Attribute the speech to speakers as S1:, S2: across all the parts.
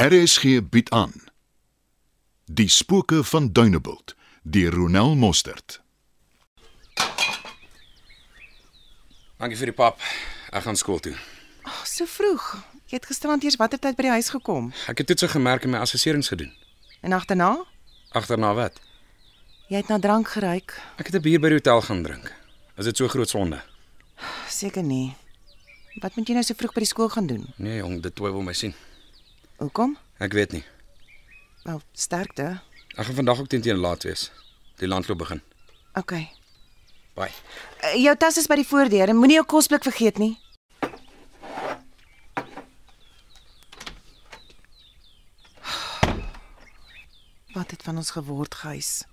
S1: RSG bied aan Die spooke van Dunebuld deur Ronel Mostert.
S2: Dankie vir die pap. Ek gaan skool toe.
S3: Oh, so vroeg. Jy het gisterand eers watter tyd by die huis gekom?
S2: Ek het toetse gemerk en my assesserings gedoen.
S3: En agterna?
S2: Agterna wat?
S3: Jy het na drank geruik.
S2: Ek het 'n bier by die hotel gaan drink. Is dit so groot sonde?
S3: Seker nie. Wat moet jy nou so vroeg by die skool gaan doen?
S2: Nee, jong, dit twyfel my sien.
S3: Hoekom?
S2: Ek weet nie.
S3: Wel, sterkte.
S2: Ek gaan vandag ook teen teen laat wees. Die landloop begin.
S3: OK.
S2: Bye.
S3: Eh, Jou tas is by die voordeur en moenie jou kosblik vergeet nie. Wat het van ons geword, Gys?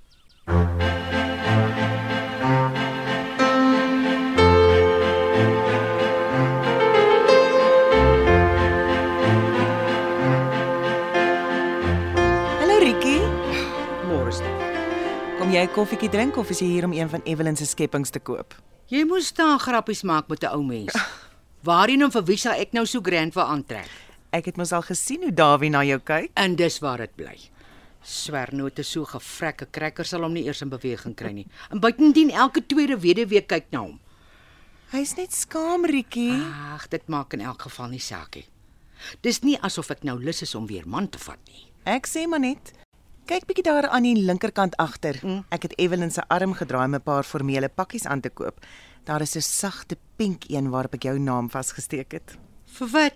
S3: Hallo Rikki.
S4: Môre staan.
S3: Kom jy 'n koffietjie drink of is jy hier om een van Evelyn se skepings te koop?
S4: Jy moet staan grappies maak met 'n ou mens. Waarheen en vir wie sal ek nou so grand wil aantrek?
S3: Ek het mos al gesien hoe Dawie na jou kyk.
S4: En dis waar dit bly. Swernote so gevrekke krekker sal hom nie eers in beweging kry nie. En buitendien elke tweede weduwee kyk na hom.
S3: Hy's net skaam, Rikkie.
S4: Ag, dit maak in elk geval nie saak nie. Dis nie asof ek nou lus is om weer man te vat nie.
S3: Ek sê maar net. Kyk bietjie daar aan die linkerkant agter. Ek het Evelyn se arm gedraai om 'n paar formele pakkies aan te koop. Daar is 'n sagte pink een waarop ek jou naam vasgesteek het.
S4: Vir wat?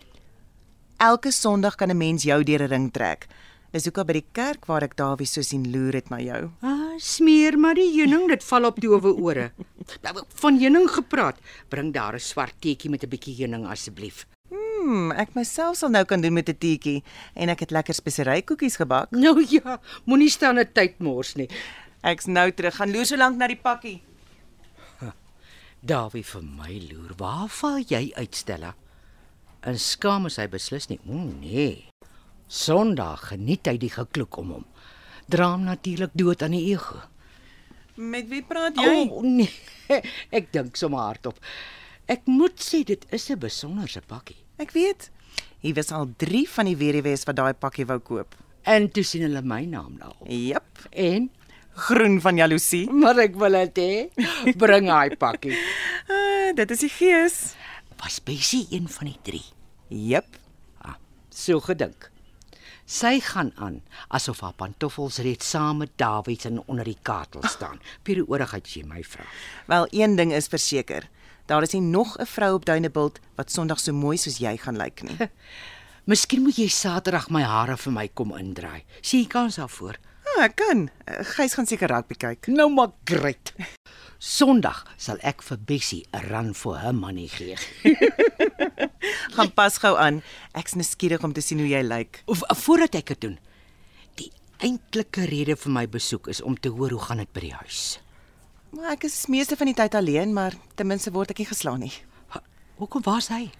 S3: Elke Sondag kan 'n mens jou deur 'n ring trek. Dis ook al by die kerk waar ek Dawie so sien loer het na jou.
S4: Ah, smeer maar die heuning, dit val op dowe ore. Nou, Van heuning gepraat, bring daar 'n swart teetjie met 'n bietjie heuning asseblief.
S3: Hmm, ek myself sal nou kan doen met 'n teetjie en ek het lekker speserykoekies gebak.
S4: Nou ja, moenie staan 'n tyd mors nie.
S3: Ek's nou terug. Gaan loer so lank na die pakkie.
S4: Dawie vir my loer, waar val jy uit Stella? En skaam is hy beslis nie. O nee. Sondag geniet hy die gekloek om hom. Dra hom natuurlik dood aan die ego.
S3: Met wie praat
S4: O nee, ek dink sommer hardop. Ek moet sê dit is 'n besonderse pakkie.
S3: Ek weet. Hier was al 3 van die weduwees wat daai pakkie wou koop.
S4: En toe sien hulle my naam nou op.
S3: Jep,
S4: En
S3: groen van jaloesie.
S4: maar ek wil dit hê. Bring hy pakkie.
S3: Uh, dit is die gees.
S4: Was Bessie een van die drie?
S3: Jep.
S4: Ah, so gedink. Sy gaan aan asof haar pantoffels reeds saam met Dawids en onder die katel staan. Pieroorigheid as jy my vra.
S3: Wel, een ding is verseker. Daar is nie nog 'n vrou op Dunebuld wat Sondag so mooi soos jy gaan lyk nie.
S4: Miskien moet jy Saterdag my hare vir my kom indraai. Sien jy kans daarvoor?
S3: Ah, ek kan. Eh, Gys gaan seker rugby kyk.
S4: Nou maar great. Sondag sal ek vir Bessie 'n ran vir haar manie gee.
S3: Gaan pas gou aan. Ek's nuuskierig om te sien hoe jy lyk.
S4: Of voordat ek dit doen. Die eintlike rede vir my besoek is om te hoor hoe gaan dit by die huis.
S3: Maar ek is meeste van die tyd alleen, maar ten minste word ek nie geslaan nie.
S4: Ha, Hoekom was hy?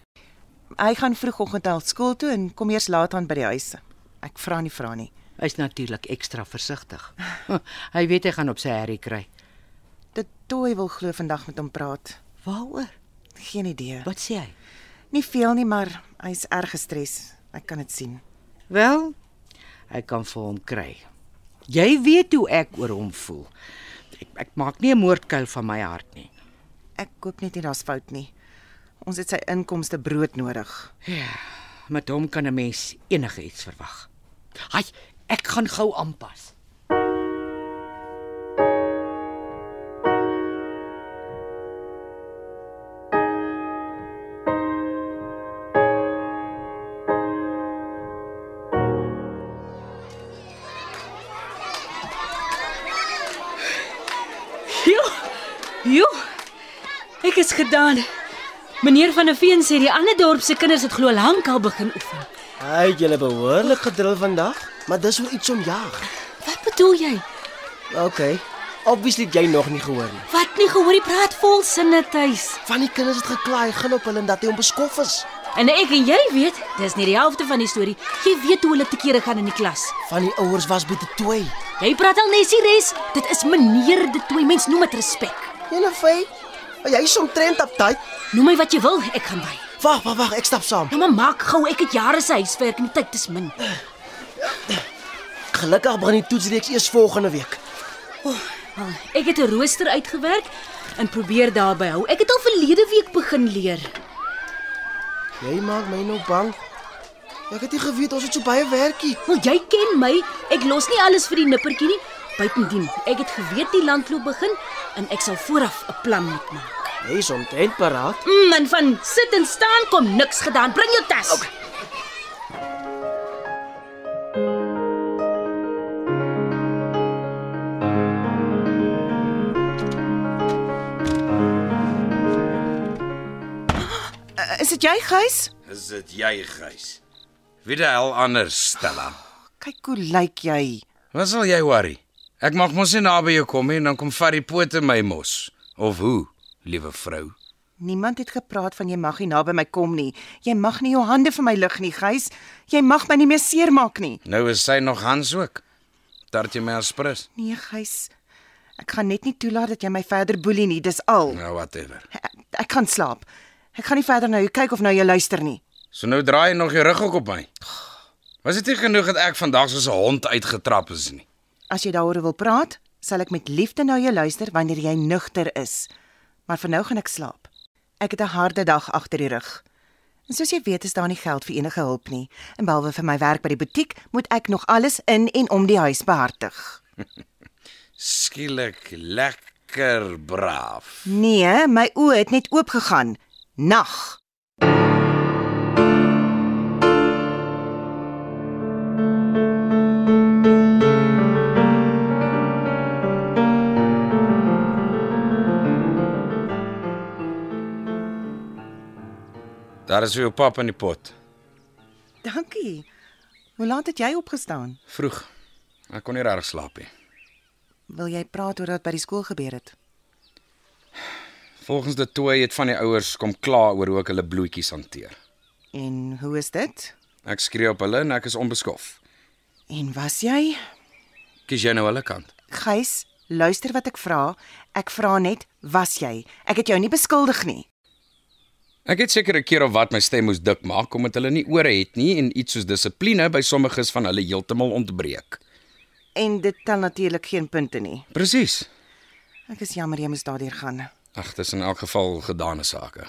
S3: Hy gaan vroegoggend al skool toe en kom eers laat aan by die huis. Ek vra nie vra nie.
S4: Hy's natuurlik ekstra versigtig. hy weet hy gaan op sy herrie kry.
S3: Dit toe wil glo vandag met hom praat.
S4: Waaroor?
S3: Geen idee.
S4: Wat sê hy?
S3: Nie veel nie, maar hy's erg gestres. Ek kan dit sien.
S4: Wel, hy kan vir hom kry. Jy weet hoe ek oor hom voel. Ek, ek maak nie 'n moordkuil van my hart nie.
S3: Ek koop net nie daar's fout nie. Ons het sy inkomste brood nodig.
S4: Ja, met hom kan 'n mens enige iets verwag. Haai, ek gaan gou aanpas.
S5: Jo. Jo. Ek is gedaan. Meneer van der Veen sê die ander dorp se kinders het glo lankal begin oefen.
S6: Hy het julle behoorlik gedrul vandag, maar dis oor iets om jag.
S5: Wat bedoel jy?
S6: OK. Obviously het jy nog nie gehoor nie.
S5: Wat nie gehoor die praat vol sinne tuis.
S6: Van die kinders het geklaai, gil op hulle en dat hy onbeskof is.
S5: En ek en jy weet, dis nie die helfte van die storie. Jy weet hoe hulle te kere gaan in die klas.
S6: Van die ouers was bietjie tooi.
S5: Jy praat al nesie res. Dit is meneer de twee mens noem dit respek.
S6: Jenafay, jy is omtrent op tyd.
S5: Noem my wat jy wil, ek gaan by.
S6: Wag, wag, wag, ek stap saam.
S5: Nou maar maak gou, ek het jare se huiswerk en tyd is min.
S6: gelukkig begin die toetsreeks eers volgende week.
S5: Wel, Ek het 'n rooster uitgewerk en probeer daarby hou. Ek het al verlede week begin leer.
S6: Jy maak my nou bang. Ek het nie geweet ons het so baie werkie.
S5: Wel, jy ken my. Ek los nie alles vir die nippertjie nie. Buitendien, ek het geweet die landloop begin en ek sal vooraf 'n plan moet maak.
S6: Jy is omtrent paraat.
S5: Mm, en van sit en staan kom niks gedaan. Bring jou tas. Okay.
S3: Uh, Is dit jy, Gys?
S2: Is dit jy, Gys? Wie die hel anders, Stella?
S3: Kyk hoe lyk jy.
S2: Wat sal jy worry? Ek mag mos nie naby jou kom nie en dan kom vat die pote my mos. Of hoe, liewe vrou?
S3: Niemand het gepraat van jy mag nie naby my kom nie. Jy mag nie jou hande vir my lig nie, Gys. Jy mag my nie meer seermaak nie.
S2: Nou is sy nog Hans ook. Tart jy my as prins?
S3: Nee, Gys. Ek gaan net nie toelaat dat jy my verder boelie nie, dis al.
S2: Nou whatever.
S3: Ek, ek gaan slaap. Ek gaan nie verder na jou kyk of nou jy luister nie.
S2: So nou draai jy nog jou rug ook op my. Was dit nie genoeg dat ek vandag soos 'n hond uitgetrap is nie?
S3: As jy daaroor wil praat, sal ek met liefde na jou luister wanneer jy nugter is. Maar vir nou gaan ek slaap. Ek het 'n harde dag agter die rug. En soos jy weet, is daar nie geld vir enige hulp nie. En behalwe vir my werk by die butiek, moet ek nog alles in en om die huis behartig.
S2: Skielik lekker braaf.
S3: Nee, my oë het net oop gegaan. Nag.
S2: Daar is vir jou pap in die pot.
S3: Dankie. Hoe laat het jy opgestaan?
S2: Vroeg. Ek kon nie regtig slaap nie.
S3: Wil jy praat oor wat by die skool gebeur het?
S2: Volgens die toe het van die ouers kom kla oor hoe ek hulle bloetjies hanteer.
S3: En hoe is dit?
S2: Ek skree op hulle en ek is onbeskof.
S3: En was jy?
S2: Kies jy nou hulle kant.
S3: Gys, luister wat ek vra. Ek vra net, was jy? Ek het jou nie beskuldig nie.
S2: Ek het seker 'n keer of wat my stem moes dik maak omdat hulle nie ore het nie en iets soos dissipline by sommiges van hulle heeltemal ontbreek.
S3: En dit tel natuurlik geen punte nie.
S2: Presies.
S3: Ek is jammer jy moes daardeur gaan.
S2: Ag, dis in elk geval gedane sake.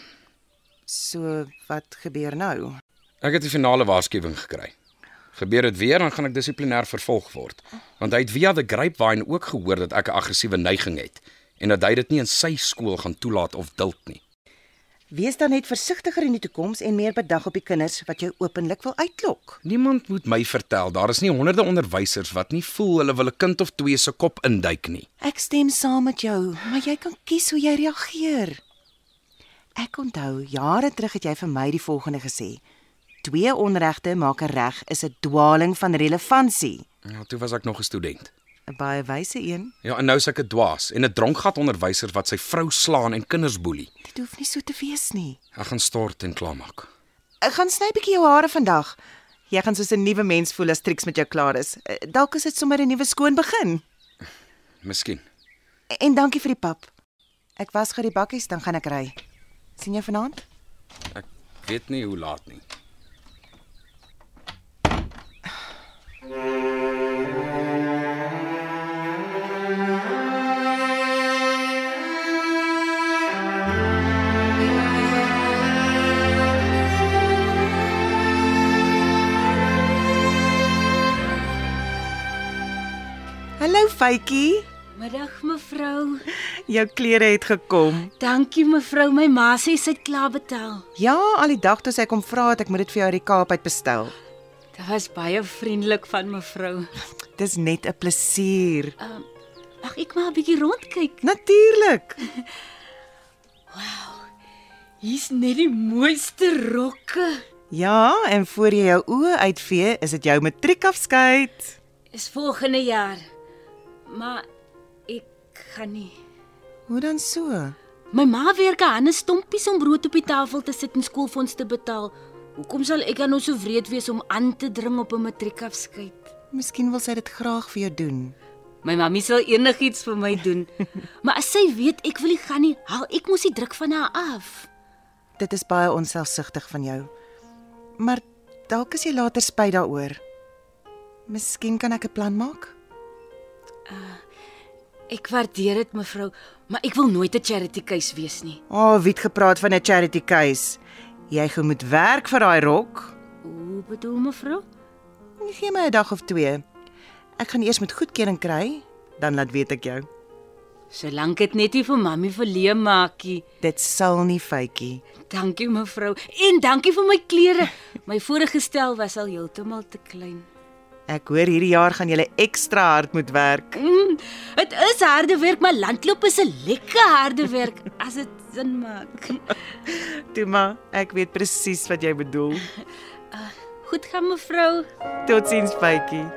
S3: So wat gebeur nou?
S2: Ek het die finale waarskuwing gekry. Gebeur dit weer, dan gaan ek dissiplinêr vervolg word. Want hy het via the grapevine ook gehoor dat ek 'n aggressiewe neiging het en dat hy dit nie in sy skool gaan toelaat of duld nie.
S3: Wees dan net versigtiger in die toekoms en meer bedag op die kinders wat jou openlik wil uitlok.
S2: Niemand moet my vertel daar is nie honderde onderwysers wat nie voel hulle wil 'n kind of twee se kop induik nie.
S3: Ek stem saam met jou, maar jy kan kies hoe jy reageer. Ek onthou jare terug het jy vir my die volgende gesê: Twee onregte maak 'n reg is 'n dwaling van relevantie.
S2: Ja, toe was ek nog 'n student.
S3: 'n Baie wyse een.
S2: Ja, en nou is ek 'n dwaas en 'n dronkgat onderwyser wat sy vrou slaan en kinders boelie.
S3: Dit hoef nie so te wees nie.
S2: Ek gaan stort en klaarmaak.
S3: Ek gaan sny 'n bietjie jou hare vandag. Jy gaan soos 'n nuwe mens voel as Trix met jou klaar is. Eh, Dalk is dit sommer 'n nuwe skoon begin.
S2: Miskien.
S3: En- En dankie vir die pap. Ek was gou die bakkies, dan gaan ek ry. sien jou vanaand?
S2: Ek weet nie hoe laat nie.
S3: Hallo Faitjie.
S5: Middag mevrou.
S3: Jou klere het gekom.
S5: Dankie mevrou. My ma sê sy het klaar betaal.
S3: Ja, al die dag toe sy kom vra het ek moet dit vir jou uit die Kaap uit bestel.
S5: Dit was baie vriendelik van mevrou.
S3: Dis net 'n plesier.
S5: Mag ek maar 'n bietjie rondkyk?
S3: Natuurlik.
S5: Hier's net die mooiste rokke.
S3: Ja, en voor jy jou oë uitvee, is dit jou matriekafskeid.
S5: Is volgende jaar. Maar ek gaan nie.
S3: Hoe dan so?
S5: My ma werk aan Hannes stompies om brood op die tafel te sit en skoolfonds te betaal. Hoekom sal ek dan nou so wreed wees om aan te dring op 'n matriekafskeid?
S3: Miskien wil sy dit graag vir jou doen.
S5: My mammie sal enigiets vir my doen. maar as sy weet ek wil nie gaan nie, haal ek mos die druk van haar af.
S3: Dit is baie onselfsugtig van jou. Maar dalk as jy later spyt daaroor. Miskien kan ek 'n plan maak.
S5: Ek waardeer dit mevrou, maar ek wil nooit 'n charity case wees nie.
S3: O, oh, wie het gepraat van 'n charity case? Jy gaan moet werk vir daai rok. Nee,
S5: Hoe bedoel mevrou?
S3: Gee my 'n dag of twee. Ek gaan eers met goedkeuring kry, dan laat weet ek jou.
S5: Solank dit net nie vir mammie verleë maakie.
S3: Dit sal nie fytjie.
S5: Dankie mevrou en dankie vir my klere. My vorige stel was al heeltemal te klein.
S3: Ek hoor hierdie jaar gaan jy ekstra hard moet werk.
S5: Mm, Dit is harde werk, maar landloop is 'n lekker harde werk as dit sin maak.
S3: Tuma, ek weet presies wat jy bedoel.
S5: Goed gaan mevrou.
S3: Totsiens, fytjie.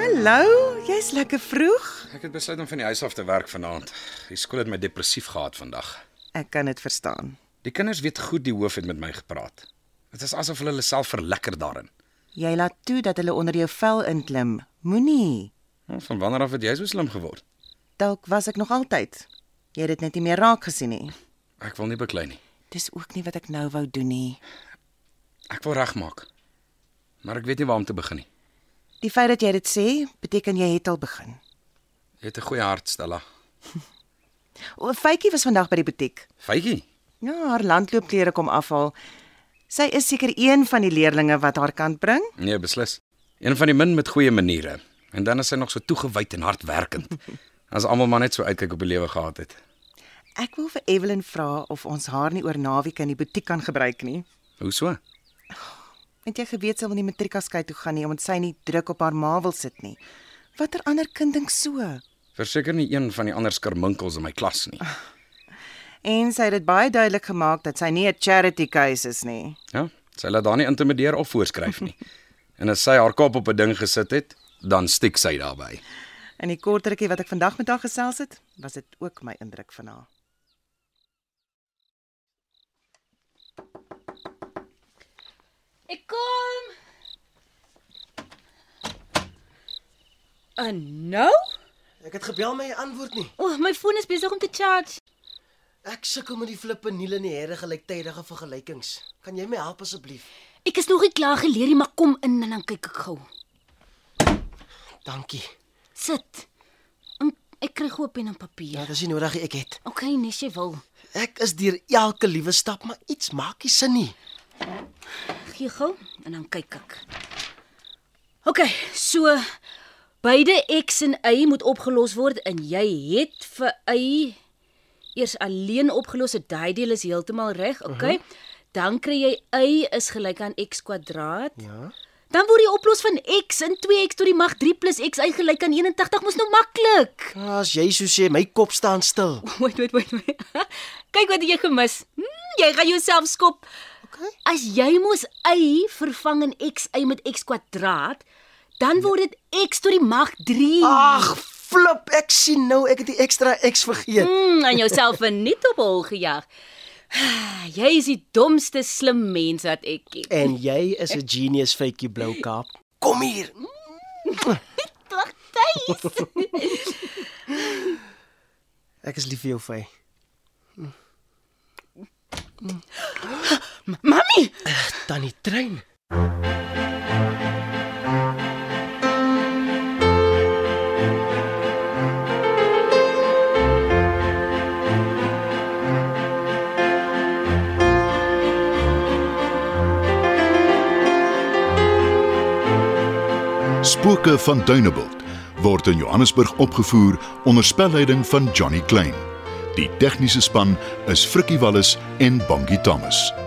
S3: Hallo, jy's lekker vroeg.
S2: Ek het besluit om van die huis af te werk vanaand. Die skool het my depressief gehad vandag.
S3: Ek kan dit verstaan.
S2: Die kinders weet goed die hoof het met my gepraat. Dit is asof hulle hulle self verlekker daarin.
S3: Jy laat toe dat hulle onder jou vel inklim. Moenie.
S2: Nou, Van wanneer af het jy so slim geword?
S3: Dalk was ek nog altyd. Jy het dit net nie meer raak gesien nie.
S2: Ek wil nie beklei nie.
S3: Dis ook nie wat ek nou wou doen nie.
S2: Ek wil regmaak. Maar ek weet nie waar om te begin nie.
S3: Die feit dat jy dit sê, beteken jy het al begin.
S2: Jy het 'n goeie hart, Stella.
S3: O, Faitjie was vandag by die butiek.
S2: Faitjie,
S3: Ja, haar landloopklere kom afhaal. Sy is seker een van die leerlinge wat haar kant bring.
S2: nee, beslis. Een van die min met goeie maniere. En dan is hy nog so toegewyd en hardwerkend. As almal maar net so uitkyk op die lewe gehad het.
S3: Ek wil vir Evelyn vra of ons haar nie oor naweek in die butiek kan gebruik nie.
S2: Hoe so?
S3: Het jy geweet sy wil nie matriekaskyk toe gaan nie omdat sy nie druk op haar ma wil sit nie. Watter ander kind dink so?
S2: Verseker nie een van die ander skerminkels in my klas nie.
S3: En sy het dit baie duidelik gemaak dat sy nie 'n charity case is nie.
S2: Ja, sy laat daar nie intimideer of voorskryf nie. En as sy haar kop op 'n ding gesit het, dan stiek sy daarbey.
S3: In die kort rukkie wat ek vandag met haar gesels het, was dit ook my indruk van haar.
S5: Ek kom. En nou?
S6: Ek het gebel maar jy antwoord nie.
S5: O, oh, my foon is besig om te charge.
S6: Ek sukkel met die flippe niel en die herre gelyktydige vergelykings. Kan jy my help asseblief?
S5: Ek is nog nie klaar geleer nie, maar kom in en dan kyk ek gou.
S6: Dankie.
S5: Sit. En ek kry gou 'n pen en papier.
S6: Ja, dis nie nodig nie, ek het.
S5: OK, nes jy wil.
S6: Ek is deur elke liewe stap, maar iets maak nie sin nie.
S5: Gee gou en dan kyk ek. OK, so beide x en y moet opgelos word en jy het vir y eers alleen opgelos. so Daai deel is heeltemal reg, OK? Uh -huh. Dan kry jy y is gelyk aan x kwadraat.
S6: Ja.
S5: Dan word die oplos van x in 2x tot die mag 3 plus x y gelyk aan 81. Mos nou maklik.
S6: As jy so sê, my kop staan stil.
S5: Wait, wait, wait. wait. Kyk wat het jy gemis. Hmm, jy gaan jouself skop.
S6: Okay.
S5: As jy mos y vervang in xy met x kwadraat, dan word dit x tot die mag 3.
S6: Ag, flip, ek sien nou ek het die ekstra X vergeet.
S5: Mm, aan jouself verniet op hol gejaag. Jy is die domste slim mens wat ek ken.
S6: En jy is 'n genius, Faitjie Bloukaap. Kom hier.
S5: Wag, tuis.
S6: Ek is lief vir jou, Faye.
S5: Mamy,
S6: Tannie Trein.
S1: Spooke van Dunebuld word in Johannesburg opgevoer onder spelleiding van Johnny Klein. Die tegniese span is Frikkie Wallis en Bongie Thomas.